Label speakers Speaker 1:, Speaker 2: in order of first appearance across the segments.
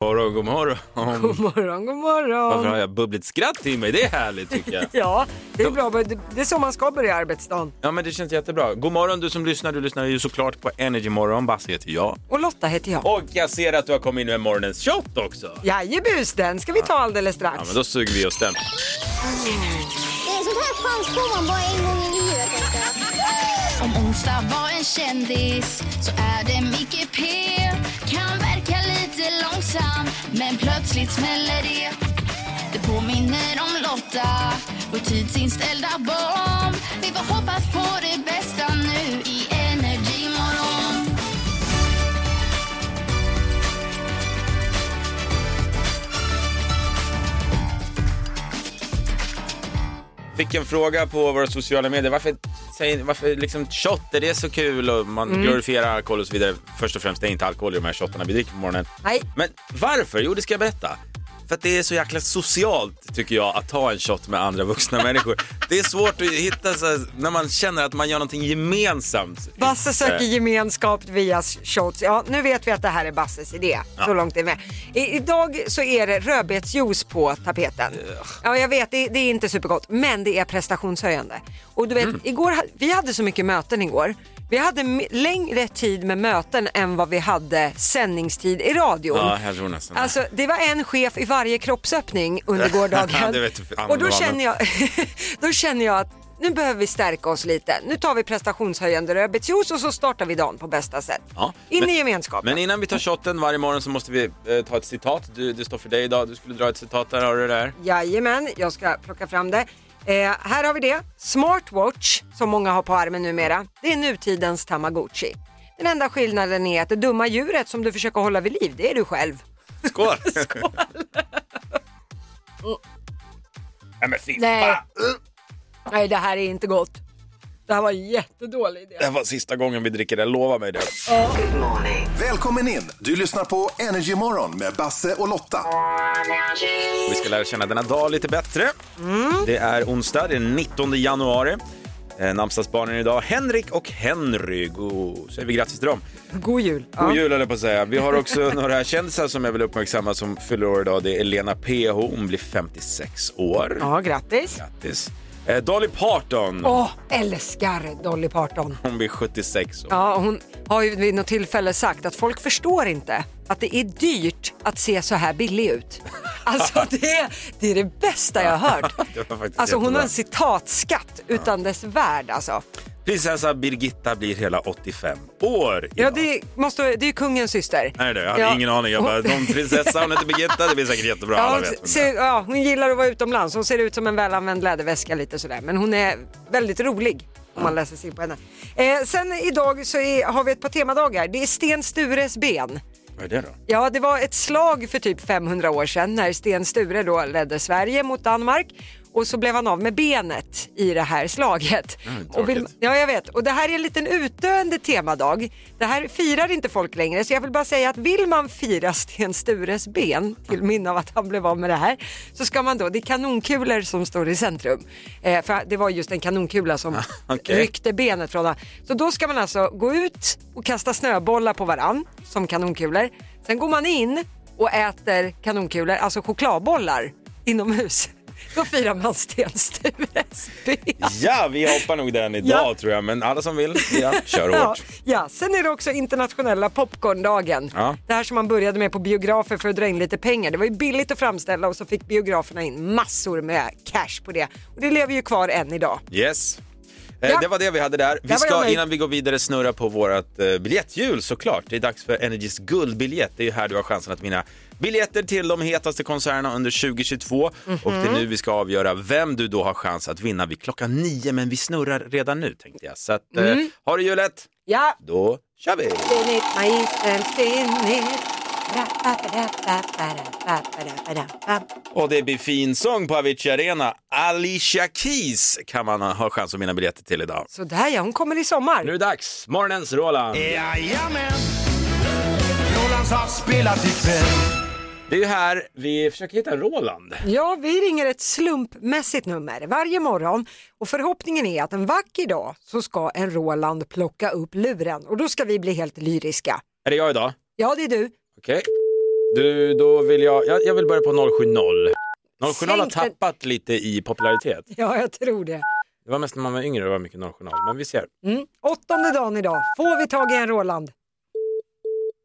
Speaker 1: morgon, god morgon.
Speaker 2: God morgon, god
Speaker 1: Varför
Speaker 2: morgon.
Speaker 1: har jag bubbligt skratt i mig? Det är härligt tycker jag.
Speaker 2: Ja, det är bra. men Det det är så man ska börja arbetsdagen.
Speaker 1: Ja men det känns jättebra. God morgon du som lyssnar. Du lyssnar ju såklart på Energy Morgon. Basse heter jag.
Speaker 2: Och Lotta heter jag.
Speaker 1: Och jag ser att du har kommit in med morgonens shot också.
Speaker 2: Jajebus, den ska vi ta alldeles
Speaker 1: Ja
Speaker 2: strax.
Speaker 1: men då suger vi oss den.
Speaker 3: Det är sånt här chans får man bara en gång i livet. tänker jag.
Speaker 4: Om onsdag var en kändis så är det Micke P Kan verka lite långsam men plötsligt smäller det Det påminner om Lotta och tidsinställda barn Vi får hoppas på det bästa nu i Energy morgon
Speaker 1: Fick en fråga på våra sociala medier. Varför, säger, varför liksom shot, är det så kul? Och man
Speaker 2: Mm.
Speaker 1: glorifierar alkohol och så vidare. Först och främst, det är inte alkohol i de här shottarna vi dricker på morgonen.
Speaker 2: Nej.
Speaker 1: Men varför? Jo, det ska jag berätta. För att det är så jäkla socialt, tycker jag, att ta en shot med andra vuxna människor. Det är svårt att hitta så här, när man känner att man gör någonting gemensamt.
Speaker 2: Basse söker
Speaker 1: Eh.
Speaker 2: gemenskap via shots. Ja, nu vet vi att det här är Basses idé. Så långt är vi med. I, idag så är det rödbetsjuice på tapeten. Ja, jag vet, det, det är inte supergott, men det är prestationshöjande. Och du vet,
Speaker 1: Mm.
Speaker 2: igår, ha- vi hade så mycket möten igår. Vi hade m- längre tid med möten än vad vi hade sändningstid i radion.
Speaker 1: Ja, jag tror nästan det.
Speaker 2: Alltså det var en chef i varje kroppsöppning under
Speaker 1: Ja,
Speaker 2: gårdagen.
Speaker 1: det vet fan vad
Speaker 2: och då
Speaker 1: det var,
Speaker 2: känner, jag, då känner jag att nu behöver vi stärka oss lite. Nu tar vi prestationshöjande rödbetsjuice och så startar vi dagen på bästa sätt.
Speaker 1: Ja,
Speaker 2: In
Speaker 1: men-
Speaker 2: i gemenskapen.
Speaker 1: Men innan vi tar shotten varje morgon så måste vi eh, ta ett citat. Du, det står för dig idag. Du skulle dra ett citat. Där har du det där.
Speaker 2: Jajamän, jag ska plocka fram det. Eh, här har vi det. Smartwatch, som många har på armen numera, det är nutidens tamagotchi. Den enda skillnaden är att det dumma djuret som du försöker hålla vid liv, det är du själv.
Speaker 1: Skål! Skål! Nej men fy
Speaker 2: Nej.
Speaker 1: fan!
Speaker 2: Nej, det här är inte gott. Det här var en jättedålig idé.
Speaker 1: Det här var sista gången vi dricker det, lova mig det.
Speaker 5: Välkommen in! Du lyssnar på Energy Morgon med Basse och Lotta.
Speaker 1: Vi ska lära känna denna dag lite bättre.
Speaker 2: Mm.
Speaker 1: Det är onsdag, det är den 19 januari. Eh, Namnsdagsbarnen idag, Henrik och Henry. God, säger vi grattis till dem.
Speaker 2: God jul. Ja.
Speaker 1: God jul höll jag på att säga. Vi har också några kändisar som jag vill uppmärksamma som fyller år idag. Det är Elena PH, hon blir 56 år.
Speaker 2: Ja, grattis.
Speaker 1: Grattis. Eh, Dolly Parton,
Speaker 2: Åh, älskar Dolly Parton.
Speaker 1: hon blir 76 år.
Speaker 2: Ja, hon har ju vid något tillfälle sagt att folk förstår inte att det är dyrt att se så här billig ut. Alltså det, det är det bästa jag har hört.
Speaker 1: Det var faktiskt
Speaker 2: Alltså hon
Speaker 1: jättebra.
Speaker 2: har en citatskatt utan dess värld alltså.
Speaker 1: Prinsessa Birgitta blir hela 85 år
Speaker 2: Ja,
Speaker 1: idag.
Speaker 2: det, måste, det är kungens syster.
Speaker 1: Är det det? Jag hade
Speaker 2: Ja.
Speaker 1: ingen aning. Jag bara,
Speaker 2: Och-
Speaker 1: någon prinsessa, hon heter Birgitta, det blir säkert jättebra.
Speaker 2: Ja,
Speaker 1: Alla
Speaker 2: hon,
Speaker 1: vet vem det
Speaker 2: ser,
Speaker 1: är.
Speaker 2: ja, hon gillar att vara utomlands. Hon ser ut som en välanvänd läderväska lite sådär. Men hon är väldigt rolig om man läser sig in på henne. Eh, sen idag så är, har vi ett par temadagar. Det är Sten Stures ben.
Speaker 1: Vad är det då?
Speaker 2: Ja, det var ett slag för typ 500 år sedan när Sten Sture då ledde Sverige mot Danmark och så blev han av med benet i det här slaget. och vill,
Speaker 1: tråkigt.
Speaker 2: ja, jag vet. Och det här är en liten utdöende temadag. Det här firar inte folk längre, så jag vill bara säga att vill man fira Sten Stures ben till minne av att han blev av med det här så ska man då, det är kanonkulor som står i centrum. Eh, för det var just en kanonkula som
Speaker 1: okej.
Speaker 2: ryckte ryckte benet från honom. Så då ska man alltså gå ut och kasta snöbollar på varann som kanonkulor. Sen går man in och äter kanonkulor, alltså chokladbollar inomhus. Då firar man Sten Stures ben.
Speaker 1: Ja, vi hoppar nog den idag
Speaker 2: Ja.
Speaker 1: tror jag, men alla som vill, ja, kör
Speaker 2: Ja,
Speaker 1: hårt.
Speaker 2: ja, sen är det också internationella popcorndagen.
Speaker 1: Ja.
Speaker 2: Det här som man började med på biografer för att dra in lite pengar. Det var ju billigt att framställa och så fick biograferna in massor med cash på det. Och det lever ju kvar än idag.
Speaker 1: Yes. Eh,
Speaker 2: Ja.
Speaker 1: Det var det vi hade där. Vi
Speaker 2: Där var jag
Speaker 1: ska
Speaker 2: nöjd.
Speaker 1: innan vi går vidare snurra på vårt eh, biljetthjul såklart. Det är dags för Energys guldbiljett. Det är ju här du har chansen att vinna biljetter till de hetaste konserterna under 2022. Och det är
Speaker 2: Mhm.
Speaker 1: nu vi ska avgöra vem du då har chans att vinna vid klockan nio. Men vi snurrar redan nu tänkte jag. Så att,
Speaker 2: Mm.
Speaker 1: eh, har du hjulet,
Speaker 2: Ja,
Speaker 1: då kör vi!
Speaker 2: Spin it, my ears and spin it.
Speaker 1: Och det blir fin sång på Avicii Arena. Alicia Keys kan man ha chans att vinna biljetter till idag.
Speaker 2: Sådär ja, hon kommer i sommar.
Speaker 1: Nu är det dags. Morgonens Roland.
Speaker 6: Jajamän! Rolands havs spelar till kväll.
Speaker 1: Det är ju här vi försöker hitta en Roland.
Speaker 2: Ja, vi ringer ett slumpmässigt nummer varje morgon och förhoppningen är att en vacker dag så ska en Roland plocka upp luren och då ska vi bli helt lyriska.
Speaker 1: Är det jag idag?
Speaker 2: Ja, det är du.
Speaker 1: Okej. Du, då vill jag, jag... Jag vill börja på 070. 070 har
Speaker 2: Sänk den.
Speaker 1: tappat lite i popularitet.
Speaker 2: Ja, jag tror det.
Speaker 1: Det var mest när man var yngre det var mycket 070. Men vi ser.
Speaker 2: Mm. Åttonde dagen idag, får vi tag i en Roland?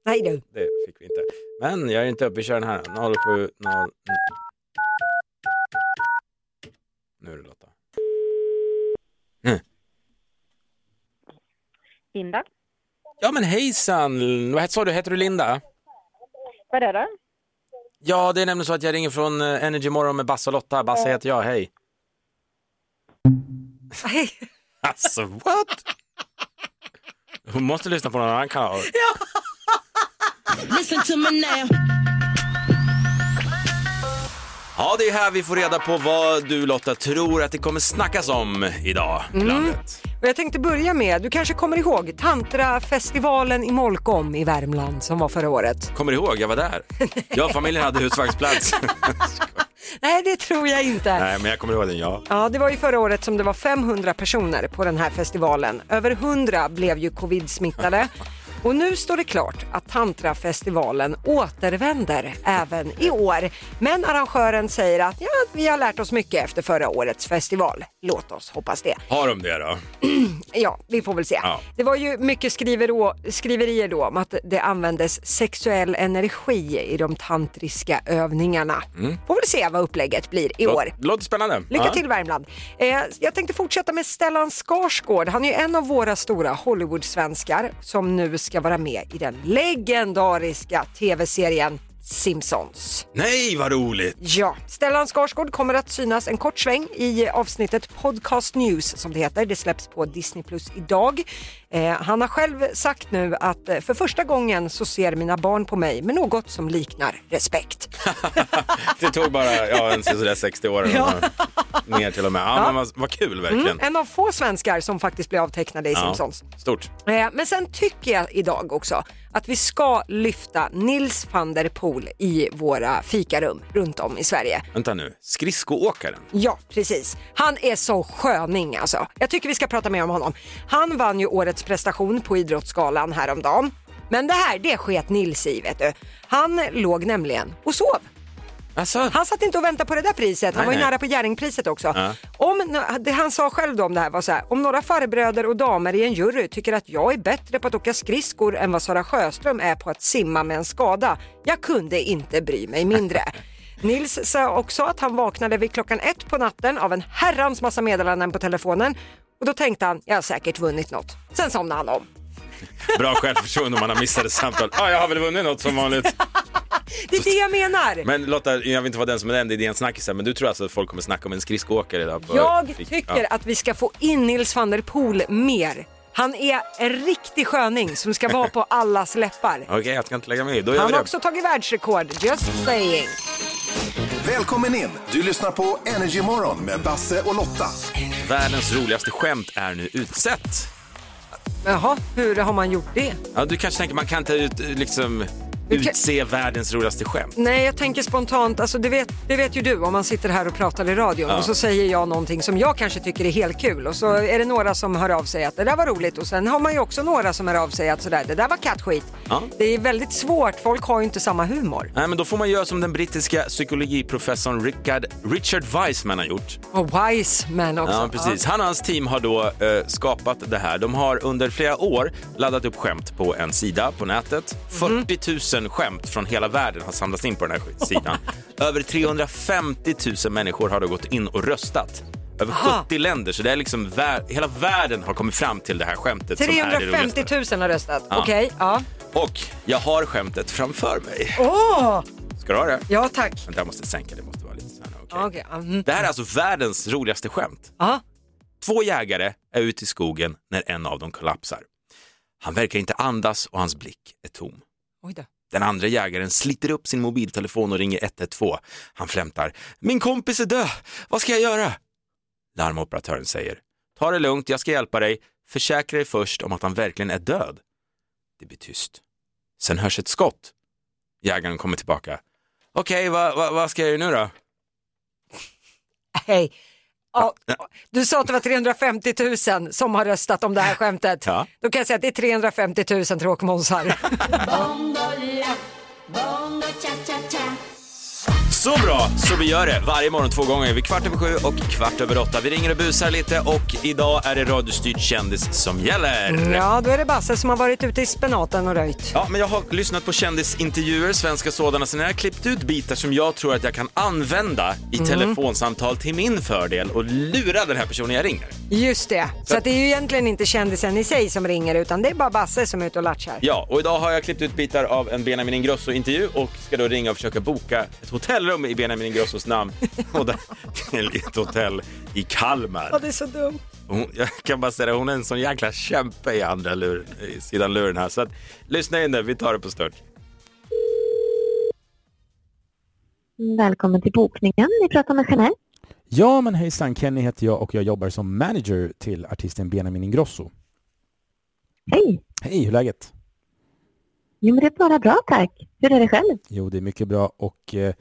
Speaker 2: Nej du.
Speaker 1: Det fick vi inte. Men jag är inte uppe. Vi kör den här. 070... Nu är det Lotta.
Speaker 7: Linda,
Speaker 1: Ja men hejsan! Vad het- sa du? Heter du Linda?
Speaker 7: vad är det?
Speaker 1: Ja, det är nämligen så att jag ringer från eh, Energy Morgon med Basse och Lotta. Basse heter jag, hej.
Speaker 2: Nej.
Speaker 1: Alltså what? Hon måste lyssna på någon annan kanal. Ja, det är här vi får reda på vad du Lotta tror att det kommer snackas om idag i landet.
Speaker 2: Mm. Och jag tänkte börja med, du kanske kommer ihåg Tantrafestivalen i Molkom i Värmland som var förra året?
Speaker 1: Kommer du ihåg? Jag var där. Jag och familjen hade husvagnsplats.
Speaker 2: Nej, det tror jag inte.
Speaker 1: Nej, men jag kommer ihåg den, ja.
Speaker 2: Ja, det var ju förra året som det var 500 personer på den här festivalen. Över 100 blev ju covid-smittade. Och nu står det klart att Tantrafestivalen återvänder även i år. Men arrangören säger att ja, vi har lärt oss mycket efter förra årets festival. Låt oss hoppas det.
Speaker 1: Har de det då?
Speaker 2: Ja, vi får väl se.
Speaker 1: Ja.
Speaker 2: Det var ju mycket skriverå, skriverier då om att det användes sexuell energi i de tantriska övningarna. Får väl se vad upplägget blir i år.
Speaker 1: Lå- Låter spännande.
Speaker 2: Lycka
Speaker 1: Mm. Ja.
Speaker 2: till Värmland! Eh, jag tänkte fortsätta med Stellan Skarsgård. Han är ju en av våra stora Hollywood-svenskar som nu ska vara med i den legendariska tv-serien Simpsons.
Speaker 1: Nej, vad roligt!
Speaker 2: Ja, Stellan Skarsgård kommer att synas en kort sväng i eh, avsnittet Podcast News som det heter. Det släpps på Disney Plus idag. Eh, han har själv sagt nu att eh, för första gången så ser mina barn på mig med något som liknar respekt.
Speaker 1: Det tog bara ja, en sådär 60 år eller något. ner till och med. Ja, Mm. Men vad, vad kul verkligen.
Speaker 2: En av få svenskar som faktiskt blir avtecknade i
Speaker 1: Ja,
Speaker 2: Simpsons.
Speaker 1: Stort.
Speaker 2: Eh, Men sen tycker jag idag också att vi ska lyfta Nils van der Poel i våra fikarum runt om i Sverige.
Speaker 1: Vänta nu, skridskoåkaren.
Speaker 2: Ja, precis. Han är så sköning alltså. Jag tycker vi ska prata mer om honom. Han vann ju årets prestation på Idrottsgalan häromdagen. Men det här, det sket Nils i vet du. Han låg nämligen och sov.
Speaker 1: Alltså,
Speaker 2: Han satt inte och väntade på det där priset. Han
Speaker 1: Nej,
Speaker 2: var ju
Speaker 1: nej.
Speaker 2: nära på Jerringpriset också.
Speaker 1: Ja.
Speaker 2: Om, no- det han sa själv då om det här var så här. Om några farbröder och damer i en jury tycker att jag är bättre på att åka skridskor än vad Sara Sjöström är på att simma med en skada. Jag kunde inte bry mig mindre. Nils sa också att han vaknade vid klockan ett på natten av en herrans massa meddelanden på telefonen och då tänkte han, jag har säkert vunnit något. Sen somnade han om.
Speaker 1: bra självförtroende om man har missat ett samtal. Ja, jag har väl vunnit något som vanligt.
Speaker 2: Det är det jag menar.
Speaker 1: Men Lotta, jag vill inte vara den som är den idén snackisen, men du tror alltså att folk kommer snacka om en skridskoåkare idag? På,
Speaker 2: Jag
Speaker 1: Fick-
Speaker 2: tycker
Speaker 1: ja.
Speaker 2: att vi ska få in Nils van der Poel mer. Han är en riktig sköning som ska vara på allas läppar.
Speaker 1: Okej, jag ska inte lägga mig i. Då gör
Speaker 2: Han
Speaker 1: vi det.
Speaker 2: har också tagit världsrekord, just saying.
Speaker 5: Välkommen in! Du lyssnar på Energy Morgon med Basse och Lotta.
Speaker 1: Världens roligaste skämt är nu utsett.
Speaker 2: Jaha, hur har man gjort det?
Speaker 1: Ja, du kanske tänker man kan inte ut, liksom,
Speaker 2: Du kan-
Speaker 1: utse världens roligaste skämt.
Speaker 2: Nej, jag tänker spontant, alltså det vet, det vet ju du om man sitter här och pratar i radion och så säger jag någonting som jag kanske tycker är helt kul och så är det några som hör av sig att det där var roligt och sen har man ju också några som hör av sig att sådär, det där var kattskit.
Speaker 1: Ja.
Speaker 2: Det är väldigt svårt, folk har ju inte samma humor.
Speaker 1: Nej, men då får man göra som den brittiska psykologiprofessorn Richard, Richard Wiseman har gjort.
Speaker 2: Och wise men också.
Speaker 1: Ja, precis. Han och hans team har då eh, skapat det här. De har under flera år laddat upp skämt på en sida på nätet. 40 000 skämt från hela världen har samlats in på den här sidan. Över 350 000 människor har då gått in och röstat. Över
Speaker 2: Aha.
Speaker 1: 70 länder, så det är liksom vär- hela världen har kommit fram till det här skämtet. som är det roligaste.
Speaker 2: 350 000 har röstat.
Speaker 1: Ja.
Speaker 2: Okej, ja.
Speaker 1: Och jag har skämtet framför mig.
Speaker 2: Åh!
Speaker 1: Ska du ha det?
Speaker 2: Ja, tack.
Speaker 1: Vänta, jag måste sänka det. måste vara lite så här. nu, okej.
Speaker 2: Ja, okej. Mm.
Speaker 1: Det här är alltså världens roligaste skämt.
Speaker 2: Ja.
Speaker 1: Två jägare är ute i skogen när en av dem kollapsar. Han verkar inte andas och hans blick är tom.
Speaker 2: Oj då.
Speaker 1: Den andra jägaren sliter upp sin mobiltelefon och ringer 112. Han flämtar. Min kompis är död. Vad ska jag göra? Larmoperatören säger. Ta det lugnt, jag ska hjälpa dig. Försäkra dig först om att han verkligen är död. Det blir tyst. Sen hörs ett skott. Jägaren kommer tillbaka. Okej, vad vad- vad ska jag göra nu då?
Speaker 2: Hej. Ja, du sa att det var 350 000 som har röstat om det här skämtet.
Speaker 1: Ja.
Speaker 2: Då kan jag säga att det är 350 000 tråkmånsar.
Speaker 1: Så bra, så vi gör det. Varje morgon två gånger, vid kvart över sju och kvart över åtta. Vi ringer och busar lite och idag är det radiostyrd kändis som gäller.
Speaker 2: ja, då är det Basse som har varit ute i spenaten och röjt.
Speaker 1: Ja, men jag har lyssnat på kändisintervjuer, svenska sådana, sen har jag klippt ut bitar som jag tror att jag kan använda i telefonsamtal till min fördel och lura den här personen jag ringer.
Speaker 2: Just det, så att det är ju egentligen inte kändisen i sig som ringer utan det är bara Basse som är ute och latchar.
Speaker 1: Ja, och idag har jag klippt ut bitar av en Benjamin Ingrosso-intervju och ska då ringa och försöka boka ett hotellrum i Benjamin Ingrossos namn och där, till ett hotell i Kalmar.
Speaker 2: det är så dumt.
Speaker 1: Hon, jag kan bara säga det, hon är en sån jäkla kämpe i andra luren, i sidan luren här. Så att, lyssna in nu, vi tar det på stört.
Speaker 7: Mm. Välkommen till bokningen. Ni pratar med Jeanette.
Speaker 8: Ja, men hejsan, Kenny heter jag och jag jobbar som manager till artisten Benjamin Ingrosso.
Speaker 7: Hej!
Speaker 8: Hej, hur är läget?
Speaker 7: Jo, men det är bara bra tack. Hur är det själv?
Speaker 8: Jo, det är mycket bra och eh,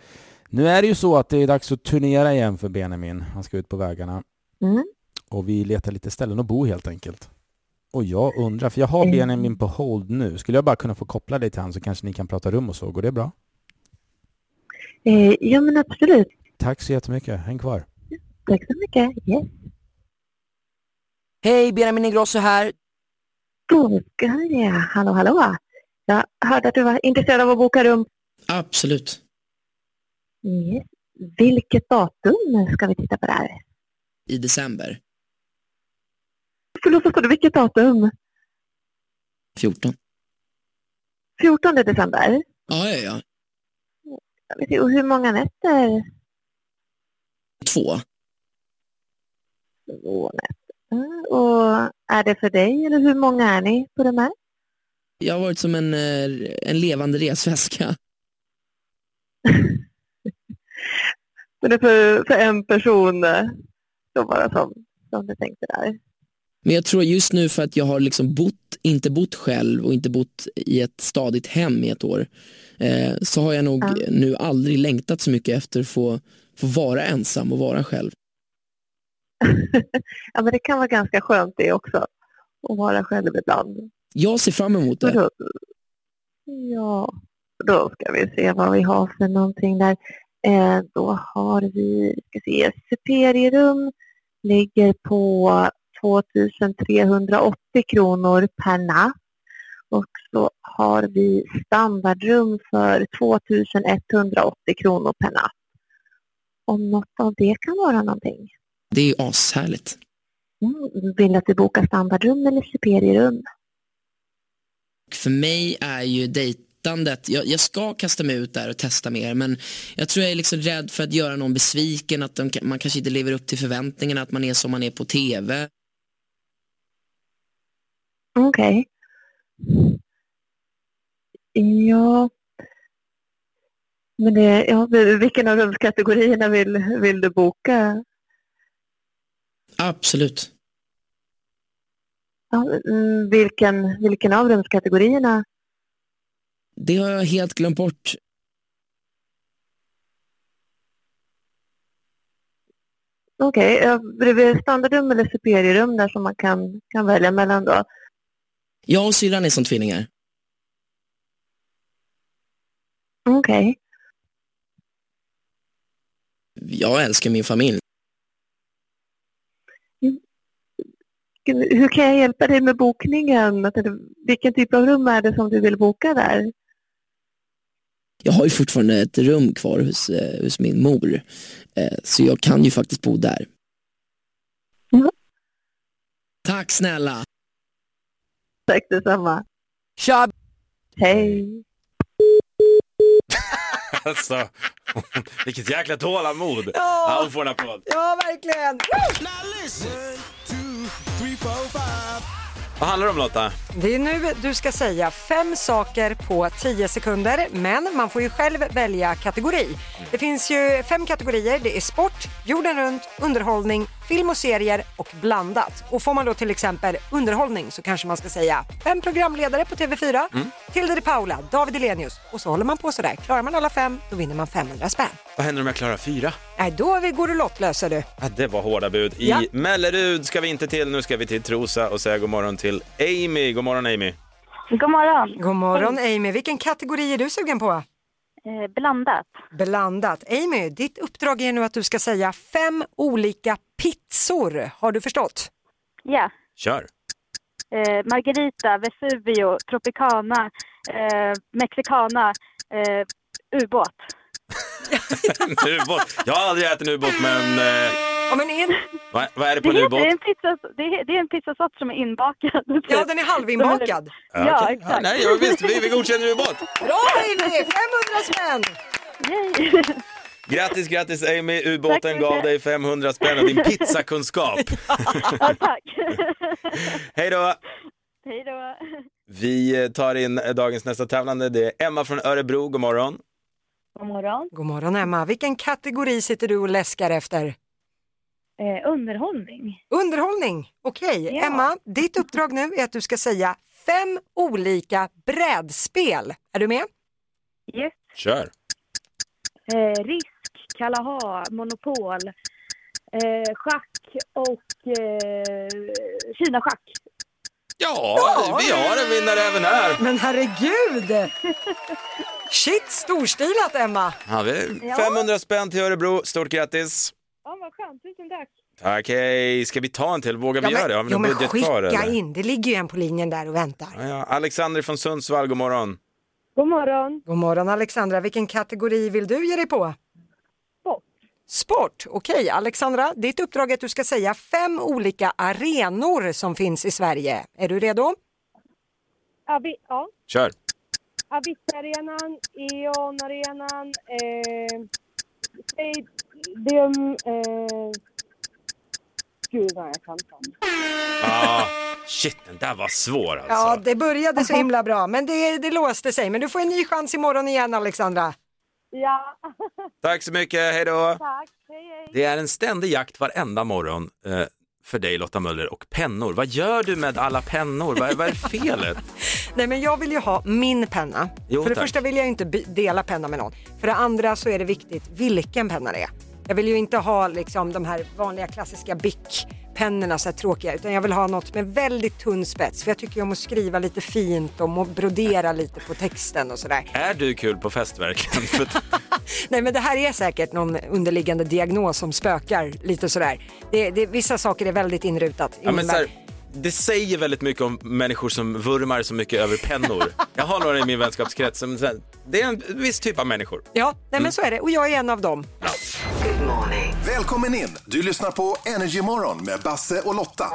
Speaker 8: nu är det ju så att det är dags att turnera igen för Benjamin. Han ska ut på vägarna
Speaker 7: Mm.
Speaker 8: och vi letar lite ställen att bo helt enkelt. Och jag undrar, för jag har
Speaker 7: Mm.
Speaker 8: Benjamin på hold nu. Skulle jag bara kunna få koppla dig till han så kanske ni kan prata rum och så? Går det bra?
Speaker 7: Eh, ja, men absolut.
Speaker 8: Tack så jättemycket, häng kvar.
Speaker 7: Tack så mycket. Yes.
Speaker 9: Hej, Benjamin Ingrosso här.
Speaker 7: Bokar ja. Hallå, hallå. Jag hörde att du var intresserad av att boka rum.
Speaker 9: Absolut.
Speaker 7: Yes. Vilket datum ska vi titta på det här?
Speaker 9: I december.
Speaker 7: Förlåt, vad sa du? Vilket datum?
Speaker 9: 14.
Speaker 7: 14 december.
Speaker 9: Ja, ja, ja.
Speaker 7: Ska vi se, Och hur många nätter?
Speaker 9: Två.
Speaker 7: Två nätter. Mm, Och är det för dig eller hur många är ni på de här?
Speaker 9: Jag har varit som en, eh, en levande resväska.
Speaker 7: Men det är för, för en person. eh, Så bara som, som du tänkte där.
Speaker 9: Men jag tror just nu för att jag har liksom bott, inte bott själv och inte bott i ett stadigt hem i ett år, eh, så har jag nog
Speaker 7: Ja.
Speaker 9: nu aldrig längtat så mycket efter att få, få vara ensam och vara själv.
Speaker 7: Ja, men det kan vara ganska skönt det också. Att vara själv ibland.
Speaker 9: Jag ser fram emot
Speaker 7: Och
Speaker 9: det.
Speaker 7: Då, ja, då ska vi se vad vi har för någonting där. Eh, då har vi, ska se, superierum ligger på 2380 kronor per natt. Och så har vi standardrum för 2180 kronor per natt. Om något av det kan vara någonting.
Speaker 9: Det är ashärligt.
Speaker 7: Mm, vill att vi bokar standardrum eller superierum?
Speaker 9: För mig är ju dejtandet, jag, jag ska kasta mig ut där och testa mer men jag tror jag är liksom rädd för att göra någon besviken, att de, ka- man kanske inte lever upp till förväntningarna, att man är som man är på tv.
Speaker 7: Okej. Ja. Men det, ja, vilken av rumskategorierna vill, vill du boka?
Speaker 9: Absolut.
Speaker 7: Ja, mm, vilken, vilken av rumskategorierna?
Speaker 9: Det har jag helt glömt bort.
Speaker 7: Okej, ja, bredvid standardrum eller superierum där som man kan, kan välja mellan då?
Speaker 9: Jag och syrran är som tvillingar.
Speaker 7: Okej.
Speaker 9: Jag älskar min familj.
Speaker 7: Hur kan jag hjälpa dig med bokningen? Jag tänkte, Vilken typ av rum är det som du vill boka där?
Speaker 9: Jag har ju fortfarande ett rum kvar hos, eh, hos min mor, eh, så jag kan ju faktiskt bo där.
Speaker 10: Mm.
Speaker 7: Ja.
Speaker 9: Tack snälla.
Speaker 7: Tack detsamma.
Speaker 9: Tja!
Speaker 7: Hej.
Speaker 1: Alltså, vilket jäkla tålamod.
Speaker 2: Ja.
Speaker 1: Ja, hon får en applåd.
Speaker 2: Ja, verkligen. Woo!
Speaker 1: Vad handlar det om Lotta?
Speaker 2: Det är nu du ska säga fem saker på 10 sekunder, men man får ju själv välja kategori. Det finns ju fem kategorier. Det är sport, jorden runt, underhållning, film och serier och blandat. Och får man då till exempel underhållning så kanske man ska säga fem programledare på TV4,
Speaker 1: Mm.
Speaker 2: Tilde de Paula, David Hellenius och så håller man på sådär. Klarar man alla fem, då vinner man 500 spänn.
Speaker 1: Vad händer om jag klarar fyra?
Speaker 2: Nej, då är vi- går du lottlösa du.
Speaker 1: Ja, det var hårda bud. I
Speaker 2: Ja.
Speaker 1: Mellerud ska vi inte till, nu ska vi till Trosa och säga god morgon till Amy. God morgon Amy.
Speaker 2: God morgon. God morgon Amy. Vilken kategori är du sugen på?
Speaker 11: Eh,
Speaker 2: blandat. Blandat. Amy, ditt uppdrag är nu att du ska säga fem olika pizzor. Har du förstått?
Speaker 11: Ja.
Speaker 1: Kör.
Speaker 11: Eh, Margarita, Vesuvio, Tropicana, eh, Mexicana, eh, ubåt.
Speaker 1: En ubåt. Jag har aldrig ätit en ubåt men... Eh,
Speaker 2: Ja, men en...
Speaker 1: vad, vad är det
Speaker 11: Det,
Speaker 1: på
Speaker 11: heter,
Speaker 1: en
Speaker 11: det, är
Speaker 1: ubåt?
Speaker 11: en pizza, det, är, det är en pizzasort som är inbakad.
Speaker 2: Ja, den är halvinbakad.
Speaker 11: Ja,
Speaker 1: Ja, okej.
Speaker 11: exakt.
Speaker 1: Ja, nej, ja, visst, vi, vi godkänner ubåt.
Speaker 2: Bra Amy! 500 spänn!
Speaker 1: Grattis, grattis Amy.
Speaker 11: Tack
Speaker 1: Ubåten
Speaker 11: så
Speaker 1: gav
Speaker 11: mycket.
Speaker 1: dig 500 spänn och din pizzakunskap.
Speaker 11: Ja, tack.
Speaker 1: Hej då!
Speaker 11: Hej då.
Speaker 1: Vi eh, tar in dagens nästa tävlande. Det är Emma från Örebro. God morgon.
Speaker 11: God morgon.
Speaker 2: God morgon Emma. Vilken kategori sitter du och läskar efter?
Speaker 11: Eh, underhållning.
Speaker 2: Underhållning. Okej, Emma, ditt uppdrag nu är att du ska säga fem olika brädspel. Är du med?
Speaker 11: Yes.
Speaker 1: Kör.
Speaker 11: Eh, risk, Kalaha, Monopol, eh, schack och eh, Kina-schack.
Speaker 1: Ja, vi har en vinnare även här.
Speaker 2: Men herregud! Shit, storstilat Emma!
Speaker 1: Ja, vi-
Speaker 11: Ja.
Speaker 1: 500 spänn till Örebro. Stort grattis.
Speaker 11: Ja, vad skönt. Tusen tack.
Speaker 1: Tack, hej. Ska vi ta en till? Vågar vi
Speaker 2: Ja, men-
Speaker 1: göra det? Har vi
Speaker 2: jo,
Speaker 1: någon
Speaker 2: men
Speaker 1: budget kvar?
Speaker 2: skicka
Speaker 1: eller?
Speaker 2: in, det ligger ju en på linjen där och väntar.
Speaker 1: Ja, ja. Alexander från Sundsvall, god morgon.
Speaker 11: God morgon.
Speaker 2: God morgon Alexandra, vilken kategori vill du ge dig på?
Speaker 11: Sport.
Speaker 2: Sport, okej Alexandra, ditt uppdrag är att du ska säga fem olika arenor som finns i Sverige. Är du redo?
Speaker 11: Abi, ja.
Speaker 1: Kör.
Speaker 11: Abittarenan, Eonarenan, eh, Stadium... Eh, gud vad jag kan sånt.
Speaker 1: Ah, shit, den där var svår alltså.
Speaker 2: Ja, det började så himla bra, men det, det låste sig. Men du får en ny chans imorgon igen Alexandra.
Speaker 11: Ja,
Speaker 1: Tack så mycket, hej då.
Speaker 11: tack. Hej, hej.
Speaker 1: Det är en ständig jakt varenda morgon eh, för dig Lotta Möller och pennor. Vad gör du med alla pennor? Vad, vad är felet?
Speaker 2: Nej, men jag vill ju ha min penna.
Speaker 1: Jo,
Speaker 2: för det
Speaker 1: tack.
Speaker 2: första vill jag ju inte by- dela penna med någon. För det andra så är det viktigt vilken penna det är. Jag vill ju inte ha liksom de här vanliga klassiska Bic-pennorna så här tråkiga, utan jag vill ha något med väldigt tunn spets. För jag tycker ju om att skriva lite fint och må- brodera lite på texten och sådär.
Speaker 1: Är du kul på fest verkligen? För att-
Speaker 2: Nej men det här är säkert någon underliggande diagnos som spökar lite sådär. Det, det, vissa saker är väldigt inrutat i
Speaker 1: ja,
Speaker 2: min
Speaker 1: men, så här,
Speaker 2: värld.
Speaker 1: det säger väldigt mycket om människor som vurmar så mycket över pennor. Jag har några i min vänskapskrets som så här, det är en viss typ av människor.
Speaker 2: Ja, nej
Speaker 1: Mm.
Speaker 2: men så är det och jag är en av dem.
Speaker 5: Välkommen in! Du lyssnar på Energy Morgon med Basse och Lotta.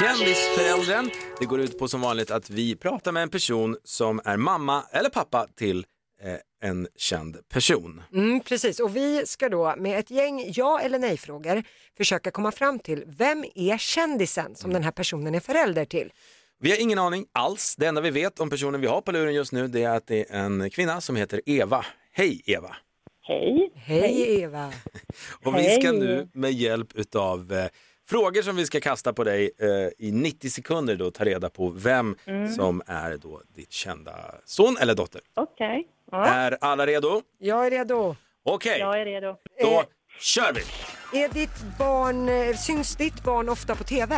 Speaker 1: Kändisföräldern, det går ut på som vanligt att vi pratar med en person som är mamma eller pappa till eh, en känd person.
Speaker 2: Mm, precis, och vi ska då med ett gäng ja eller nej-frågor försöka komma fram till vem är kändisen som den här personen är förälder till?
Speaker 1: Vi har ingen aning alls. Det enda vi vet om personen vi har på luren just nu det är att det är en kvinna som heter Eva. Hej Eva!
Speaker 11: Hej.
Speaker 2: Hej Eva!
Speaker 1: Och vi ska
Speaker 2: Hej.
Speaker 1: nu med hjälp utav eh, frågor som vi ska kasta på dig eh, i 90 sekunder då ta reda på vem
Speaker 11: Mm.
Speaker 1: som är då ditt kända son eller dotter.
Speaker 11: Okej.
Speaker 1: Är alla redo?
Speaker 2: Jag är redo.
Speaker 1: Okej,
Speaker 11: Jag är redo.
Speaker 1: då kör vi!
Speaker 2: Är ditt barn, eh, syns ditt barn ofta på TV?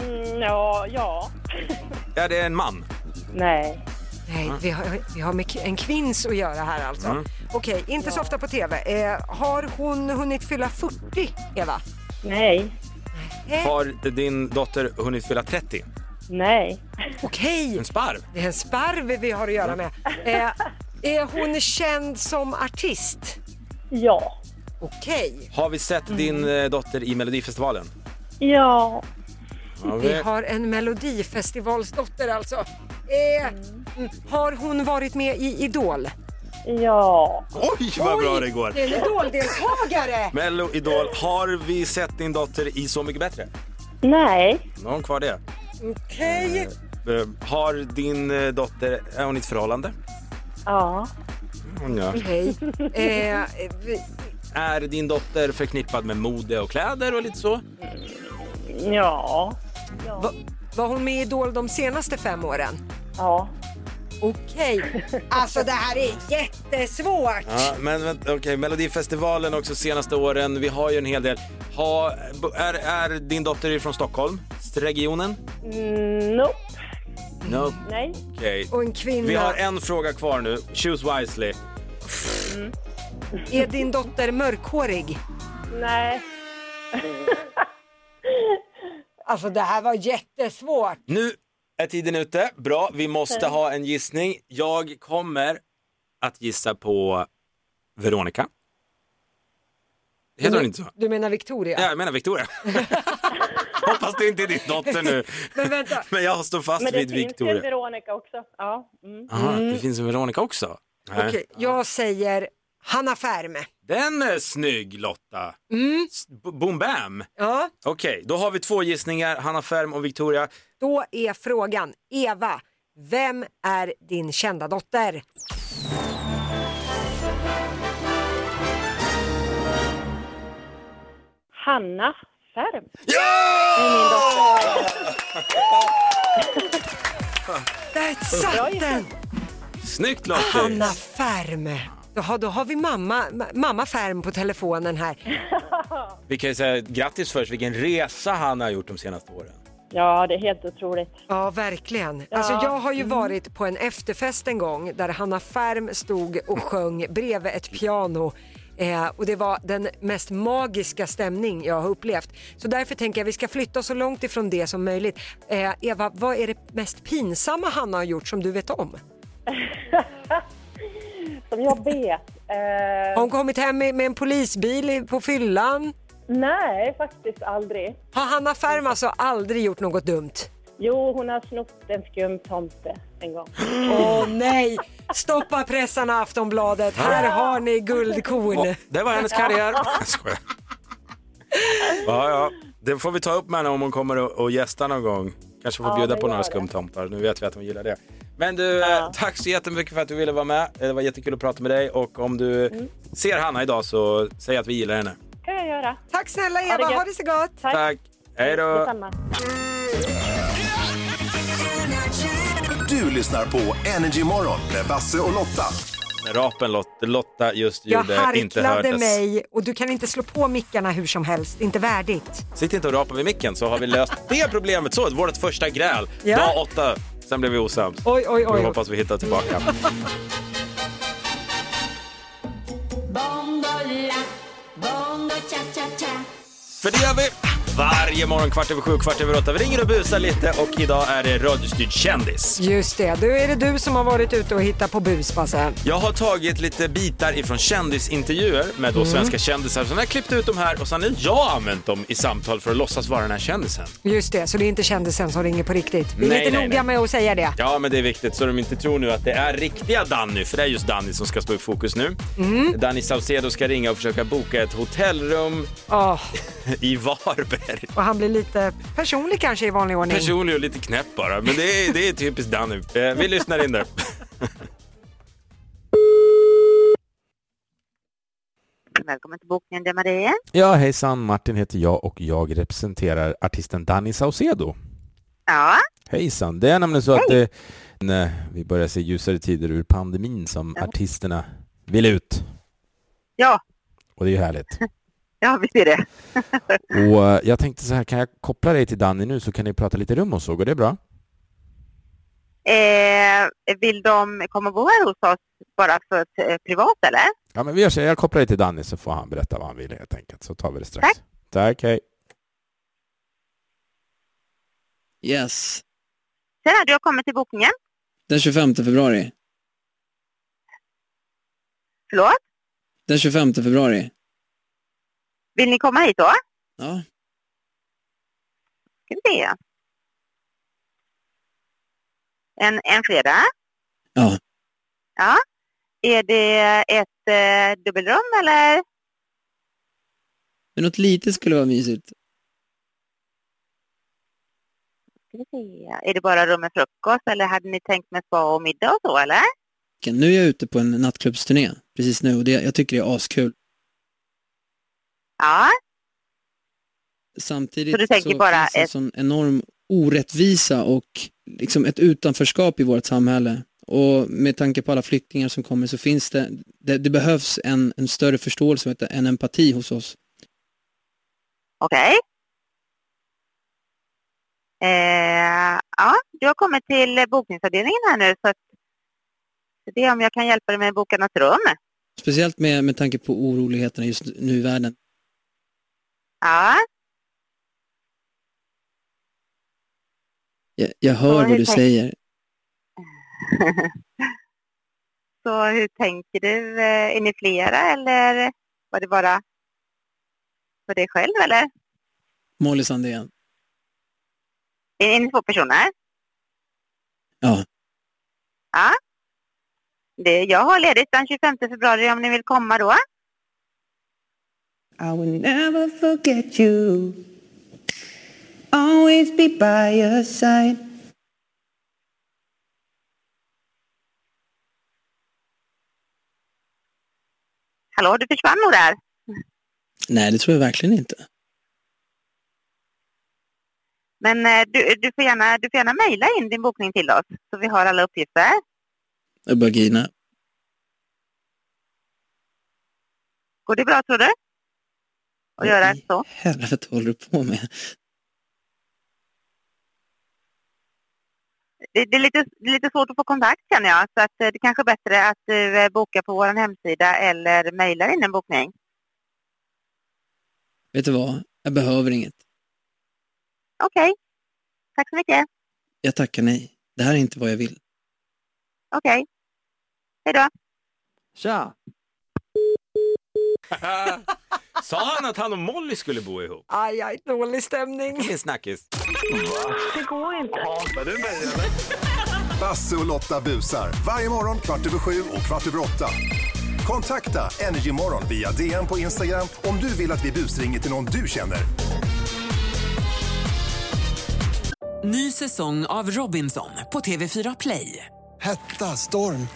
Speaker 11: Mm, ja, ja.
Speaker 1: Är det en man?
Speaker 11: Nej.
Speaker 2: Nej, vi har, vi har med k- en kvinns att göra här alltså.
Speaker 1: Mm.
Speaker 2: Okej, inte så ofta på TV. Eh, har hon hunnit fylla 40, Eva?
Speaker 11: Nej.
Speaker 1: Har din dotter hunnit fylla 30?
Speaker 11: Nej.
Speaker 2: Okej,
Speaker 1: En sparv?
Speaker 2: det är en sparv vi har att göra med. Eh, är hon känd som artist?
Speaker 11: Ja.
Speaker 2: Okej.
Speaker 1: Har vi sett din eh, dotter i Melodifestivalen?
Speaker 11: Ja.
Speaker 1: Har vi.
Speaker 2: Vi har en melodifestivalsdotter alltså. Eh, mm. Har hon varit med i Idol?
Speaker 11: Ja.
Speaker 1: Oj, vad bra det går!
Speaker 2: Det är en Idol-deltagare!
Speaker 1: Mello Idol, har vi sett din dotter i Så mycket bättre?
Speaker 11: Nej.
Speaker 1: Nu har hon kvar det.
Speaker 2: Okej.
Speaker 1: Eh, Har din eh, dotter, är hon i ett förhållande?
Speaker 11: Ja.
Speaker 1: Ja.
Speaker 2: Okej. Eh, vi-
Speaker 1: Är din dotter förknippad med mode och kläder och lite så?
Speaker 2: Ja. Va, var hon med i Idol de senaste fem åren? Ja. Okej. Alltså det här är jättesvårt.
Speaker 1: Ja, men vänt- okej, Melodifestivalen också senaste åren. Vi har ju en hel del. Ha, bo- är, är din dotter från Stockholm? Regionen?
Speaker 11: Mm, nope.
Speaker 1: No.
Speaker 11: Nej.
Speaker 1: Okej.
Speaker 2: Och en kvinna.
Speaker 1: Vi har en fråga kvar nu. Choose wisely.
Speaker 2: Är din dotter mörkhårig?
Speaker 11: Nej.
Speaker 2: Alltså det här var jättesvårt.
Speaker 1: Nu är tiden ute. Bra, vi måste ha en gissning. Jag kommer att gissa på Veronica. Heter hon inte så?
Speaker 2: Du menar Victoria?
Speaker 1: Ja, jag menar Victoria. Hoppas det inte är din dotter nu.
Speaker 2: Men vänta.
Speaker 1: Men jag står fast
Speaker 11: Men det
Speaker 1: vid
Speaker 11: finns ju en
Speaker 1: Victoria.
Speaker 11: Veronica också. Ja. Mm.
Speaker 1: Aha, det finns en Veronica också? Nej.
Speaker 2: Okej, jag säger Hanna Färme.
Speaker 1: Den är snygg Lotta!
Speaker 2: Mm.
Speaker 1: S- b- Boom bam!
Speaker 2: Ja.
Speaker 1: Okej, då har vi två gissningar, Hanna Färm och Victoria.
Speaker 2: Då är frågan, Eva, vem är din kända dotter?
Speaker 11: Hanna Färm.
Speaker 2: Där satt den!
Speaker 1: Snyggt Lottis!
Speaker 2: Hanna Färm. Jaha, då har vi mamma, ma- mamma Färm på telefonen här.
Speaker 1: Vi kan ju säga grattis först, vilken resa han har gjort de senaste åren.
Speaker 11: Ja, det är helt otroligt.
Speaker 2: Ja, verkligen. Alltså, jag har ju varit på en efterfest en gång där Hanna Färm stod och sjöng bredvid ett piano. Eh, och det var den mest magiska stämning jag har upplevt. Så därför tänker jag vi ska flytta oss så långt ifrån det som möjligt. Eh, Eva, vad är det mest pinsamma Hanna har gjort som du vet om?
Speaker 11: Som jag vet. Eh,
Speaker 2: Har hon kommit hem med, med en polisbil i- på fyllan?
Speaker 11: Nej, faktiskt aldrig.
Speaker 2: Har Hanna Färm alltså aldrig gjort något dumt?
Speaker 11: Jo, hon har snott en skum tomte en gång.
Speaker 2: Åh nej! Stoppa pressarna Aftonbladet, här har ni guldkorn.
Speaker 1: Det var hennes karriär. Jag skojar. Ja, ja. Det får vi ta upp med henne om hon kommer och, och gästar någon gång. Kanske får
Speaker 11: Ja,
Speaker 1: bjuda
Speaker 11: men
Speaker 1: på några
Speaker 11: gör det.
Speaker 1: skumtomtar. Nu vet vi att hon gillar det. Men du, eh, tack så jättemycket för att du ville vara med. Eh, Det var jättekul att prata med dig och om du
Speaker 11: Mm.
Speaker 1: ser Hanna idag så säg att vi gillar henne.
Speaker 11: kan jag göra.
Speaker 2: Tack snälla Eva, ha det så gott.
Speaker 11: Tack.
Speaker 1: Tack. Hej då.
Speaker 11: Detsamma.
Speaker 5: Du lyssnar på Energy Morgon med Basse och Lotta.
Speaker 1: När Rapen Lot- Lotta just
Speaker 2: Jag
Speaker 1: gjorde inte
Speaker 2: harklade
Speaker 1: hördes.
Speaker 2: mig och du kan inte slå på mickarna hur som helst, det är inte värdigt.
Speaker 1: Sitt inte och rapa vid micken så har vi löst det problemet. Så, vårt första gräl.
Speaker 2: Ja.
Speaker 1: Dag åtta. Sen blev vi osams.
Speaker 2: Oj, oj,
Speaker 1: Vi
Speaker 2: oj.
Speaker 1: hoppas vi hittar tillbaka.
Speaker 4: Bongola, bongo cha-cha-cha
Speaker 1: För det gör vi varje morgon kvart över sju, kvart över åtta. Vi ringer och busar lite och idag är det radiostyrd kändis.
Speaker 2: Just det, då är det du som har varit ute och hittat på bus Basse.
Speaker 1: Jag har tagit lite bitar ifrån kändisintervjuer med då
Speaker 2: Mm.
Speaker 1: svenska kändisar. Sen har jag klippt ut dem här och sen har jag använt dem i samtal för att låtsas vara den här kändisen.
Speaker 2: Just det, så det är inte kändisen som ringer på riktigt. Vi är
Speaker 1: Nej,
Speaker 2: lite
Speaker 1: nej,
Speaker 2: noga
Speaker 1: nej.
Speaker 2: med att säga det.
Speaker 1: Ja, men det är viktigt så de inte tror nu att det är riktiga Danny, för det är just Danny som ska stå i fokus nu.
Speaker 2: Mm.
Speaker 1: Danny Saucedo ska ringa och försöka boka ett hotellrum
Speaker 2: Ja,
Speaker 1: i Varberg.
Speaker 2: och han blir lite personlig kanske i vanlig ordning.
Speaker 1: Personlig och lite knäpp bara, men det är, det är typiskt Danny. Eh, vi lyssnar in där.
Speaker 10: Välkommen till bokningen, det är Marie.
Speaker 8: Ja, hejsan. Martin heter jag och jag representerar artisten Danny Saucedo.
Speaker 10: Ja,
Speaker 8: Hejsan. Det är nämligen så att eh, när vi börjar se ljusare tider ur pandemin som artisterna vill ut.
Speaker 10: ja,
Speaker 8: Och det är ju härligt.
Speaker 10: ja visst är det.
Speaker 8: Och eh, jag tänkte så här, kan jag koppla dig till Danny nu så kan ni prata lite rum och så, går det bra?
Speaker 10: Eh, vill de komma och bo här hos oss bara för att, eh, privat eller?
Speaker 8: Ja, men vi gör så här, jag kopplar dig till Danny så får han berätta vad han vill helt enkelt, så tar vi det strax. Tack. Tack, hej.
Speaker 9: Yes.
Speaker 10: Tjena, du har kommit till bokningen.
Speaker 9: Den 25 februari.
Speaker 10: Förlåt?
Speaker 9: Den 25 februari.
Speaker 10: Vill ni komma hit då?
Speaker 9: Ja.
Speaker 10: Ska vi se. En, en fredag?
Speaker 9: Ja.
Speaker 10: Ja. Är det ett eh, dubbelrum eller?
Speaker 9: Men något litet skulle vara mysigt.
Speaker 10: ska vi se. Är det bara rum med frukost eller hade ni tänkt med spa och middag och så eller?
Speaker 12: Nu är jag ute på en nattklubbsturné precis nu och det, jag tycker det är askul.
Speaker 10: Ja,
Speaker 12: Samtidigt
Speaker 10: Så du tänker
Speaker 12: så
Speaker 10: bara
Speaker 12: finns det en
Speaker 10: ett-
Speaker 12: sån enorm orättvisa och liksom ett utanförskap i vårt samhälle. Och med tanke på alla flyktingar som kommer så finns det, det, det behövs en, en större förståelse och en empati hos oss.
Speaker 10: okej. Eh, ja, du har kommit till eh, bokningsavdelningen här nu så att så det är om jag kan hjälpa dig med att boka något rum.
Speaker 12: Speciellt med, med tanke på oroligheterna just nu i världen.
Speaker 10: Ja,
Speaker 12: Jag, jag
Speaker 10: Ja,
Speaker 12: hör
Speaker 10: hur
Speaker 12: vad du
Speaker 10: tänk-
Speaker 12: säger.
Speaker 10: så hur tänker du? Eh, Är ni flera eller var det bara för dig själv eller?
Speaker 12: Molly Sandén.
Speaker 10: Är, är ni två personer?
Speaker 12: Ja.
Speaker 10: Ja. Det, jag har ledigt den 25 februari om ni vill komma då.
Speaker 13: I will never forget you. Always be by your side.
Speaker 10: Hallå, du försvann nog där.
Speaker 12: Nej, det tror jag verkligen inte.
Speaker 10: Men eh, du, du får gärna, du får gärna mejla in din bokning till oss så vi har alla uppgifter.
Speaker 12: Jag börjar grina.
Speaker 10: Går det bra tror du? Att göra så?
Speaker 12: Helvete håller du på med?
Speaker 10: Det, det, är lite, det är lite svårt att få kontakt känner jag så att eh, det kanske är bättre att du eh, bokar på vår hemsida eller mejlar in en bokning.
Speaker 12: Vet du vad? Jag behöver inget.
Speaker 10: Okej. Tack så mycket.
Speaker 12: Jag tackar nej. Det här är inte vad jag vill.
Speaker 10: Okej. Hej då.
Speaker 12: Tja!
Speaker 1: Sa han att han och Molly skulle bo ihop?
Speaker 2: Aj, aj, dålig stämning.
Speaker 1: Vilken snackis.
Speaker 2: Det går inte.
Speaker 5: Basse och Lotta busar. Varje morgon kvart över sju och kvart över åtta. Kontakta Energymorgon via DM på Instagram om du vill att vi busringer till någon du känner.
Speaker 14: Ny säsong av Robinson på TV4 Play.
Speaker 15: Hetta, storm,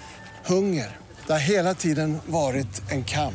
Speaker 15: hunger. Det har hela tiden varit en kamp.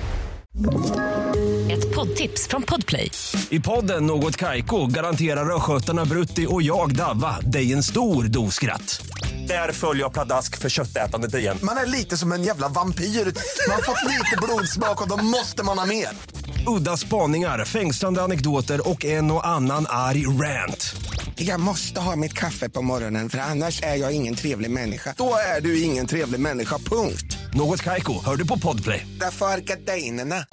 Speaker 16: Ett poddtips från Podplay.
Speaker 17: I podden Något Kaiko garanterar östgötarna Brutti och jag, Davva, dig en stor dos skratt. Där följer jag pladask för köttätandet igen.
Speaker 6: Man är lite som en jävla vampyr. Man har fått lite blodsmak och då måste man ha mer.
Speaker 17: Udda spaningar, fängslande anekdoter och en och annan arg rant.
Speaker 6: Jag måste ha mitt kaffe på morgonen för annars är jag ingen trevlig människa. Då är du ingen trevlig människa, punkt.
Speaker 17: Något Kaiko, hör du på Podplay.
Speaker 6: Därför är gardinerna.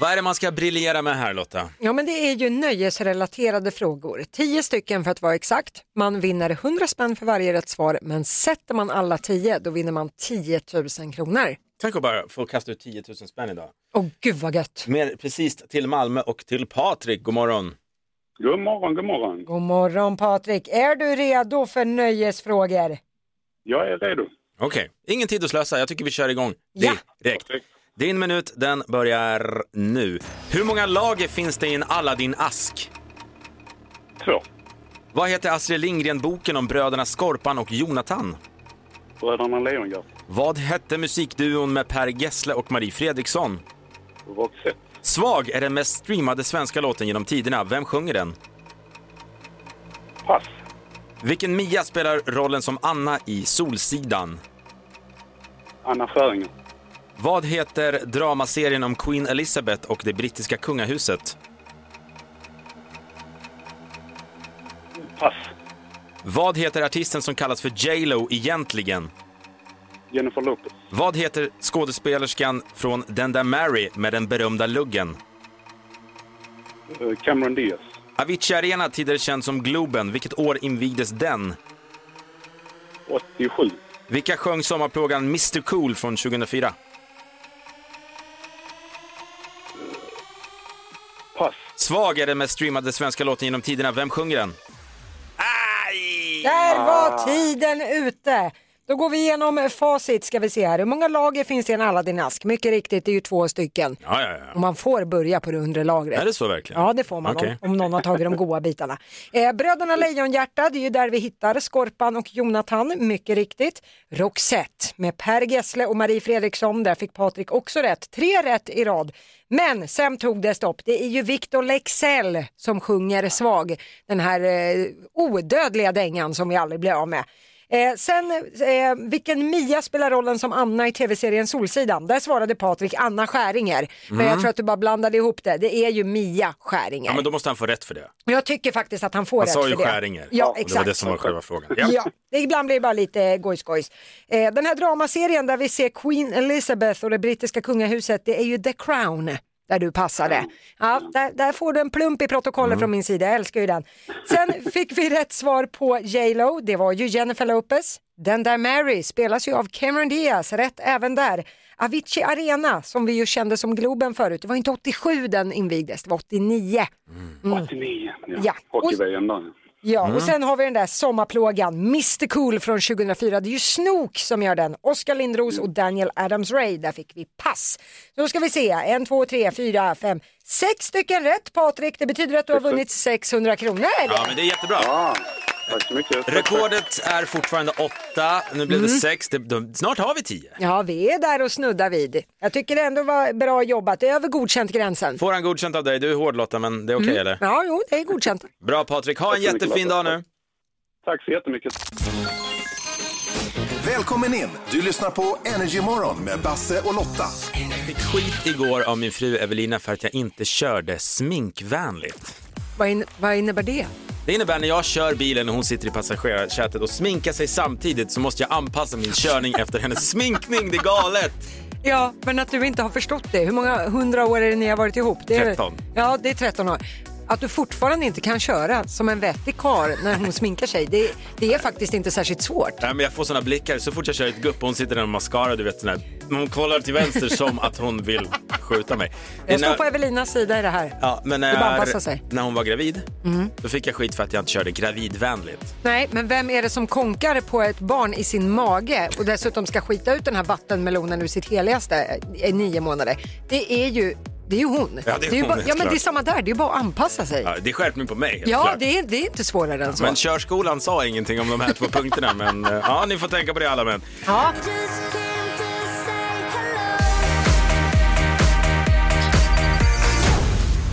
Speaker 1: Vad är det man ska briljera med här Lotta?
Speaker 2: Ja men det är ju nöjesrelaterade frågor, tio stycken för att vara exakt. Man vinner 100 spänn för varje rätt svar men sätter man alla tio då vinner man 10 000 kronor.
Speaker 1: Tänk att bara få kasta ut 10 000 spänn idag.
Speaker 2: Åh gud vad gött.
Speaker 1: Mer precis till Malmö och till Patrik. God morgon.
Speaker 18: God morgon, god morgon.
Speaker 2: God morgon Patrik, är du redo för nöjesfrågor?
Speaker 18: Jag är redo.
Speaker 1: Okej, ingen tid att slösa. Jag tycker vi kör igång direkt. Din minut, den börjar nu. Hur många lager finns det i en Aladdin-ask?
Speaker 18: Två.
Speaker 1: Vad heter Astrid Lindgren-boken om bröderna Skorpan och Jonathan?
Speaker 18: Bröderna Lejonhjärta.
Speaker 1: Vad hette musikduon med Per Gessle och Marie Fredriksson?
Speaker 18: Roxette.
Speaker 1: Svag är den mest streamade svenska låten genom tiderna. Vem sjunger den?
Speaker 18: Pass.
Speaker 1: Vilken Mia spelar rollen som Anna i Solsidan?
Speaker 18: Anna Skäringer.
Speaker 1: Vad heter dramaserien om Queen Elizabeth och det brittiska kungahuset?
Speaker 18: Pass.
Speaker 1: Vad heter artisten som kallas för J.Lo egentligen?
Speaker 18: Jennifer Lopez.
Speaker 1: Vad heter skådespelerskan från Den där Mary med den berömda luggen?
Speaker 18: Eh, Cameron Diaz.
Speaker 1: Avicii Arena, tidigare känd som Globen, vilket år invigdes den?
Speaker 18: 87.
Speaker 1: Vilka sjöng sommarplågan Mr Cool från 2004?
Speaker 18: Pass.
Speaker 1: Svag är den mest streamade svenska låten genom tiderna. Vem sjunger den?
Speaker 2: Där var
Speaker 16: Ah.
Speaker 2: tiden ute. Då går vi igenom facit ska vi se här. Hur många lager finns det i en Aladdin-ask? Mycket riktigt, det är ju två stycken.
Speaker 1: Ja, ja, ja.
Speaker 2: Och man får börja på det undre lagret.
Speaker 1: Är det så verkligen?
Speaker 2: Ja, det får man
Speaker 1: Okej.
Speaker 2: om, om någon har tagit de goda bitarna. Eh, Bröderna Lejonhjärta, det är ju där vi hittar Skorpan och Jonathan, mycket riktigt. Roxette med Per Gessle och Marie Fredriksson, där fick Patrik också rätt. Tre rätt i rad. Men sen tog det stopp. Det är ju Victor Lexell som sjunger Svag, den här eh, odödliga dängan som vi aldrig blir av med. Eh, sen, eh, vilken Mia spelar rollen som Anna i tv-serien Solsidan? Där svarade Patrik Anna Skäringer. Men jag
Speaker 1: Mm.
Speaker 2: tror att du bara blandade ihop det. Det är ju Mia Skäringer.
Speaker 1: Ja, men då måste han få rätt för det.
Speaker 2: Jag tycker faktiskt att han får
Speaker 1: Han
Speaker 2: rätt
Speaker 1: sa
Speaker 2: för
Speaker 1: ju
Speaker 2: det.
Speaker 1: Skäringer.
Speaker 2: Ja,
Speaker 1: Och
Speaker 2: exakt.
Speaker 1: Det var det som var själva frågan.
Speaker 2: Ja. det ibland blir det bara lite gojs-gojs. Eh, den här dramaserien där vi ser Queen Elizabeth och det brittiska kungahuset, det är ju The Crown där du passade. Ja, där, där får du en plump i protokollet
Speaker 1: Mm.
Speaker 2: från min sida, jag älskar ju den. Sen fick vi rätt svar på J Lo, det var ju Jennifer Lopez. Den där Mary spelas ju av Cameron Diaz, rätt även där. Avicii Arena, som vi ju kände som Globen förut, det var inte 87 den invigdes, det var 89. Mm.
Speaker 18: 89.
Speaker 2: Ja.
Speaker 18: Hockey-VM där.
Speaker 2: Ja,
Speaker 18: Mm.
Speaker 2: och sen har vi den där sommarplågan, Mr Cool från 2004. Det är ju Snook som gör den. Oskar Lindros och Daniel Adams-Ray, där fick vi pass. Så då ska vi se, en, två, tre, fyra, fem, sex stycken rätt Patrik. Det betyder att du har vunnit 600 kronor.
Speaker 1: Ja, men det är jättebra.
Speaker 18: Tack så mycket.
Speaker 1: Rekordet är fortfarande åtta. Nu blev det
Speaker 2: Mm.
Speaker 1: sex. Det, de, snart har vi tio.
Speaker 2: Ja, vi är där och snuddar vid. Jag tycker det ändå var bra jobbat, Det är över godkänt gränsen.
Speaker 1: Får han godkänt av dig? Du är hård Lotta, men det är okej eller?
Speaker 2: Ja, jo, det är godkänt.
Speaker 1: Bra Patrik, ha en
Speaker 18: Tack så mycket,
Speaker 1: jättefin dag
Speaker 18: Lotta.
Speaker 1: nu.
Speaker 18: Tack så jättemycket.
Speaker 5: Välkommen in! Du lyssnar på Energy Morgon med Basse och Lotta.
Speaker 1: Jag fick skit igår av min fru Evelina för att jag inte körde sminkvänligt.
Speaker 2: Vad, in, vad innebär det?
Speaker 1: Det innebär när jag kör bilen och hon sitter i passagerarsätet och sminkar sig samtidigt så måste jag anpassa min körning efter hennes sminkning. Det är galet!
Speaker 2: Ja, men att du inte har förstått det. Hur många hundra år är det ni har varit ihop? Det är,
Speaker 1: 13.
Speaker 2: Ja, det är 13 år. Att du fortfarande inte kan köra som en vettig karl när hon sminkar sig, det, det är faktiskt inte särskilt svårt.
Speaker 1: Nej, men jag får såna blickar så fort jag kör ett gupp och hon sitter där med mascara, du vet sån här. Men Hon kollar till vänster som att hon vill skjuta mig. Det är
Speaker 2: Jag står
Speaker 1: när-
Speaker 2: på Evelinas sida i det här.
Speaker 1: Ja, men när,
Speaker 2: Det bara
Speaker 1: jag-
Speaker 2: anpassar sig.
Speaker 1: när hon var gravid,
Speaker 2: Mm.
Speaker 1: då fick jag skit för att jag inte körde gravidvänligt.
Speaker 2: Nej, men vem är det som konkar på ett barn i sin mage och dessutom ska skita ut den här vattenmelonen ur sitt heligaste i nio månader? Det är ju, det är ju hon.
Speaker 1: Ja, det är
Speaker 2: ju
Speaker 1: hon,
Speaker 2: bara,
Speaker 1: helt
Speaker 2: ja, men
Speaker 1: klart.
Speaker 2: det är samma där, det är ju bara att anpassa sig.
Speaker 1: Ja, det är skärpning på mig, helt
Speaker 2: Ja,
Speaker 1: klart.
Speaker 2: det är, det är inte svårare än så.
Speaker 1: Men körskolan sa ingenting om de här två punkterna, men eh, ja, ni får tänka på det alla män.
Speaker 2: Ja.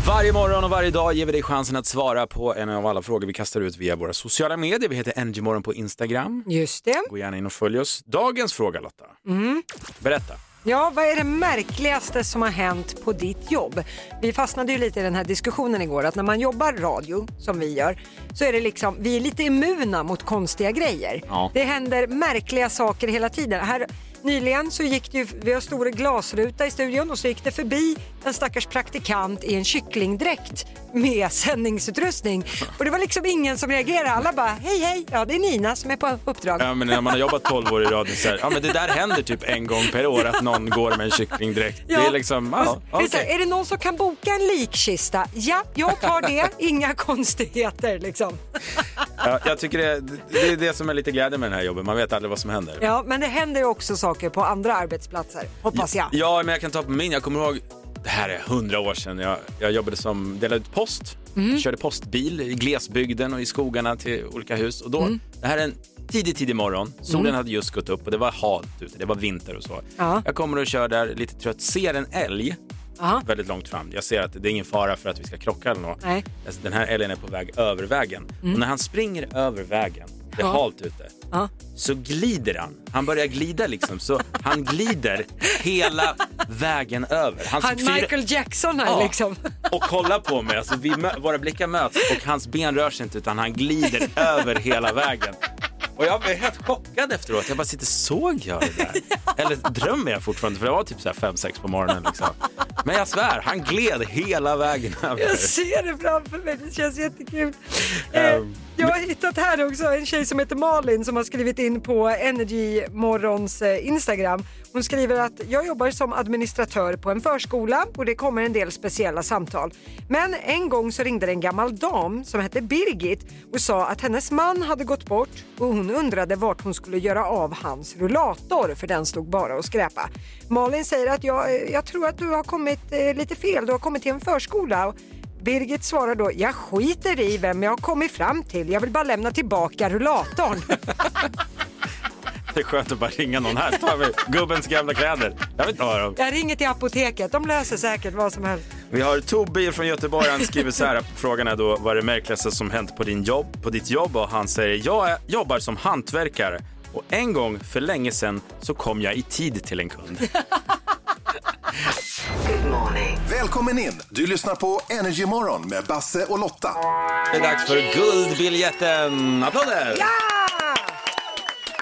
Speaker 1: Varje morgon och varje dag ger vi dig chansen att svara på en av alla frågor vi kastar ut via våra sociala medier. Vi heter Energymorgon på Instagram.
Speaker 2: Just det.
Speaker 1: Gå gärna in och följ oss. Dagens fråga Lotta,
Speaker 2: Mm.
Speaker 1: berätta.
Speaker 2: Ja, vad är det märkligaste som har hänt på ditt jobb? Vi fastnade ju lite i den här diskussionen igår att när man jobbar radio, som vi gör, så är det liksom, vi är lite immuna mot konstiga grejer.
Speaker 16: Ja.
Speaker 2: Det händer märkliga saker hela tiden. Här, nyligen så gick det ju, vi har stor glasruta i studion och så gick det förbi en stackars praktikant i en kycklingdräkt med sändningsutrustning. Och det var liksom ingen som reagerade. Alla bara, hej hej, ja det är Nina som är på uppdrag.
Speaker 1: Ja, men när man har jobbat 12 år i radio så här, ja men det där händer typ en gång per år att någon går med en kycklingdräkt. Det
Speaker 2: Ja.
Speaker 1: är liksom, ja,
Speaker 2: Det
Speaker 1: okej.
Speaker 2: är, så här, är det någon som kan boka en likkista? Ja, jag tar det. Inga konstigheter liksom.
Speaker 1: Ja, jag tycker det, det är det som är lite glädje med den här jobben, man vet aldrig vad som händer.
Speaker 2: Ja, men det händer ju också saker på andra arbetsplatser, hoppas jag.
Speaker 1: Ja, men jag kan ta på min. Jag kommer ihåg, det här är hundra år sedan. Jag, jag jobbade som, delade ut post,
Speaker 2: Mm.
Speaker 1: körde postbil i glesbygden och i skogarna till olika hus. Och då,
Speaker 2: Mm.
Speaker 1: Det här är en tidig, tidig morgon. Solen
Speaker 2: Mm.
Speaker 1: hade just gått upp och det var halt ute, det var vinter och så.
Speaker 2: Ja.
Speaker 1: Jag kommer och kör där lite trött, ser en älg väldigt långt fram. Jag ser att det är ingen fara för att vi ska krocka eller något.
Speaker 2: Nej.
Speaker 1: Den här älgen är på väg över vägen.
Speaker 2: Mm.
Speaker 1: Och när han springer över vägen, det är
Speaker 2: Ja.
Speaker 1: halt ute,
Speaker 2: Ja.
Speaker 1: så glider han. Han börjar glida liksom, så han glider hela vägen över. Hans
Speaker 2: Han
Speaker 1: fyra-
Speaker 2: Michael Jackson här
Speaker 1: Ja.
Speaker 2: liksom.
Speaker 1: Och kolla på mig, alltså, vi mö- våra blickar möts och hans ben rör sig inte utan han glider över hela vägen. Och jag blev helt chockad efteråt. Jag bara sitter, såg jag det där? Eller drömmer jag fortfarande? För det var typ så här fem sex på morgonen liksom. Men jag svär, han gled hela vägen över.
Speaker 2: Jag ser det framför mig, det känns jättekul.
Speaker 1: Ehm,
Speaker 2: Eh, Jag, hittat här också en tjej som heter Malin som har skrivit in på Energy Morgons eh, Instagram. Hon skriver att jag jobbar som administratör på en förskola och det kommer en del speciella samtal. Men en gång så ringde det en gammal dam som hette Birgit och sa att hennes man hade gått bort och hon undrade vart hon skulle göra av hans rullator för den stod bara och skräpa. Malin säger att jag, eh, jag tror att du har kommit eh, lite fel, du har kommit till en förskola. Och Birgit svarar då, jag skiter i vem jag har kommit fram till, jag vill bara lämna tillbaka rullatorn.
Speaker 1: Det är skönt att bara ringa någon. Här tar vi gubbens gamla kläder. Jag vill inte ha dem.
Speaker 2: jag ringer till apoteket, de löser säkert vad som helst.
Speaker 1: Vi har Tobbe från Göteborg. Han skriver så här. Frågan är då vad är det märkligaste som hänt på, din jobb, på ditt jobb? Och han säger jag är, jobbar som hantverkare och en gång för länge sedan så kom jag i tid till en kund.
Speaker 5: Välkommen in! Du lyssnar på Energy Morgon med Basse och Lotta.
Speaker 1: Det är dags för guldbiljetten. Applåder!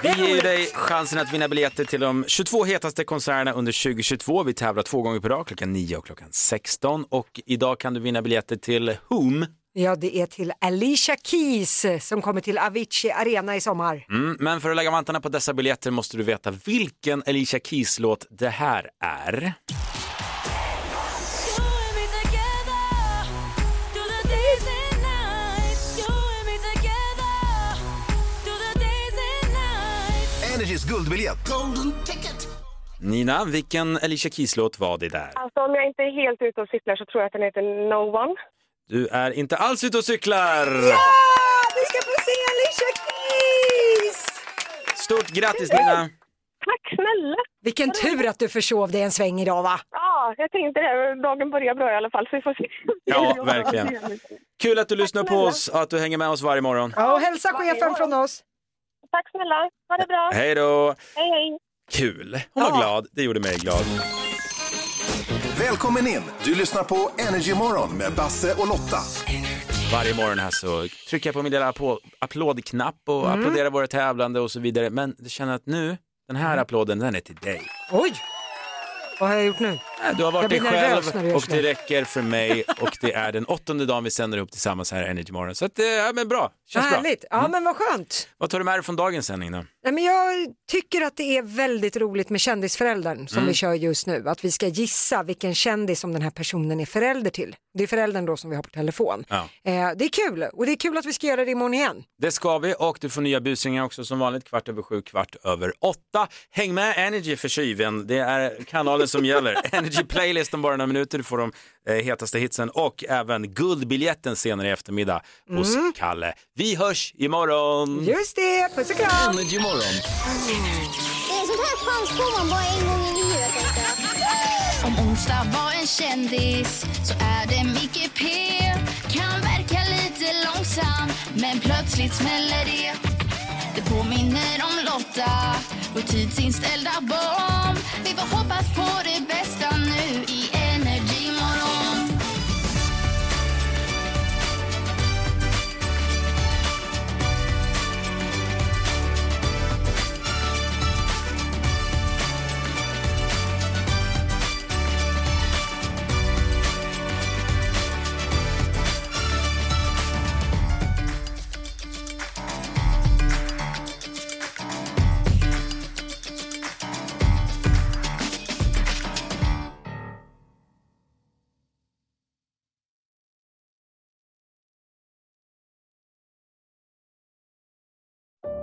Speaker 1: Vi ger ju dig chansen att vinna biljetter till de 22 hetaste konserterna under 2022. Vi tävlar två gånger per dag, klockan 9 och klockan 16. Och idag kan du vinna biljetter till Whom?
Speaker 2: Ja, det är till Alicia Keys som kommer till Avicii Arena i sommar.
Speaker 1: Mm, men för att lägga vantarna på dessa biljetter måste du veta vilken Alicia Keys-låt det här är.
Speaker 5: Energys guldbiljett.
Speaker 1: Nina, vilken Alicia Keys-låt var det där?
Speaker 16: Alltså om jag inte är helt ute och cyklar så tror jag att den heter No One.
Speaker 1: Du är inte alls ute och cyklar!
Speaker 2: Ah, vi ska få se Alicia Keys!
Speaker 1: Stort grattis Nina!
Speaker 2: Tack snälla! Vilken tur att du försov dig en sväng idag va?
Speaker 16: Ja, jag tänkte det. Dagen börjar bra i alla fall så vi får se.
Speaker 1: Ja, verkligen. Kul att du lyssnar på oss och att du hänger med oss varje morgon.
Speaker 2: Ja, och hälsa chefen från oss.
Speaker 16: Tack snälla. Ha det bra.
Speaker 1: Hej då!
Speaker 16: Hej, hej.
Speaker 1: Kul! Hon var glad, det gjorde mig glad.
Speaker 5: Välkommen in! Du lyssnar på Energy Morgon med Basse och Lotta.
Speaker 1: Varje morgon här så trycker jag på min lilla applå- applådknapp och
Speaker 5: Mm.
Speaker 1: applåderar våra tävlande och så vidare. Men jag känner att nu, den här applåden, den är till dig.
Speaker 2: Oj! Vad har jag gjort nu?
Speaker 1: Äh, Du har
Speaker 2: jag
Speaker 1: varit dig
Speaker 2: blir nervös när du
Speaker 1: själv
Speaker 2: gör
Speaker 1: och
Speaker 2: så.
Speaker 1: det räcker för mig och det är den åttonde dagen vi sänder ihop tillsammans här i Energy Morgon. Så att, eh, ja, men bra, känns bra. Mm.
Speaker 2: Härligt. Ja, men vad skönt.
Speaker 1: Vad tar du med dig från dagens sändning då?
Speaker 2: Nej, men jag tycker att det är väldigt roligt med kändisföräldern som
Speaker 1: Mm.
Speaker 2: vi kör just nu. Att vi ska gissa vilken kändis som den här personen är förälder till. Det är föräldern då som vi har på telefon.
Speaker 1: Ja.
Speaker 2: Eh, det är kul och det är kul att vi ska göra det imorgon igen.
Speaker 1: Det ska vi och du får nya busringar också som vanligt kvart över sju, kvart över åtta. Häng med Energy för tjuven, det är kanalen som gäller. Energy Playlist om bara några minuter, du får de eh, hetaste hitsen och även guldbiljetten senare i eftermiddag hos
Speaker 2: Mm.
Speaker 1: Kalle. Vi hörs imorgon!
Speaker 2: Just det, puss och kram!
Speaker 1: Energy morgon.
Speaker 3: Det är sånt här chans får man bara en gång i livet. tänkte jag.
Speaker 4: Om onsdag var en kändis så är det Micke P Kan verka lite långsam men plötsligt smäller det Det påminner om Lotta och tidsinställda barn Vi får hoppas på det bästa nu i Energy morgon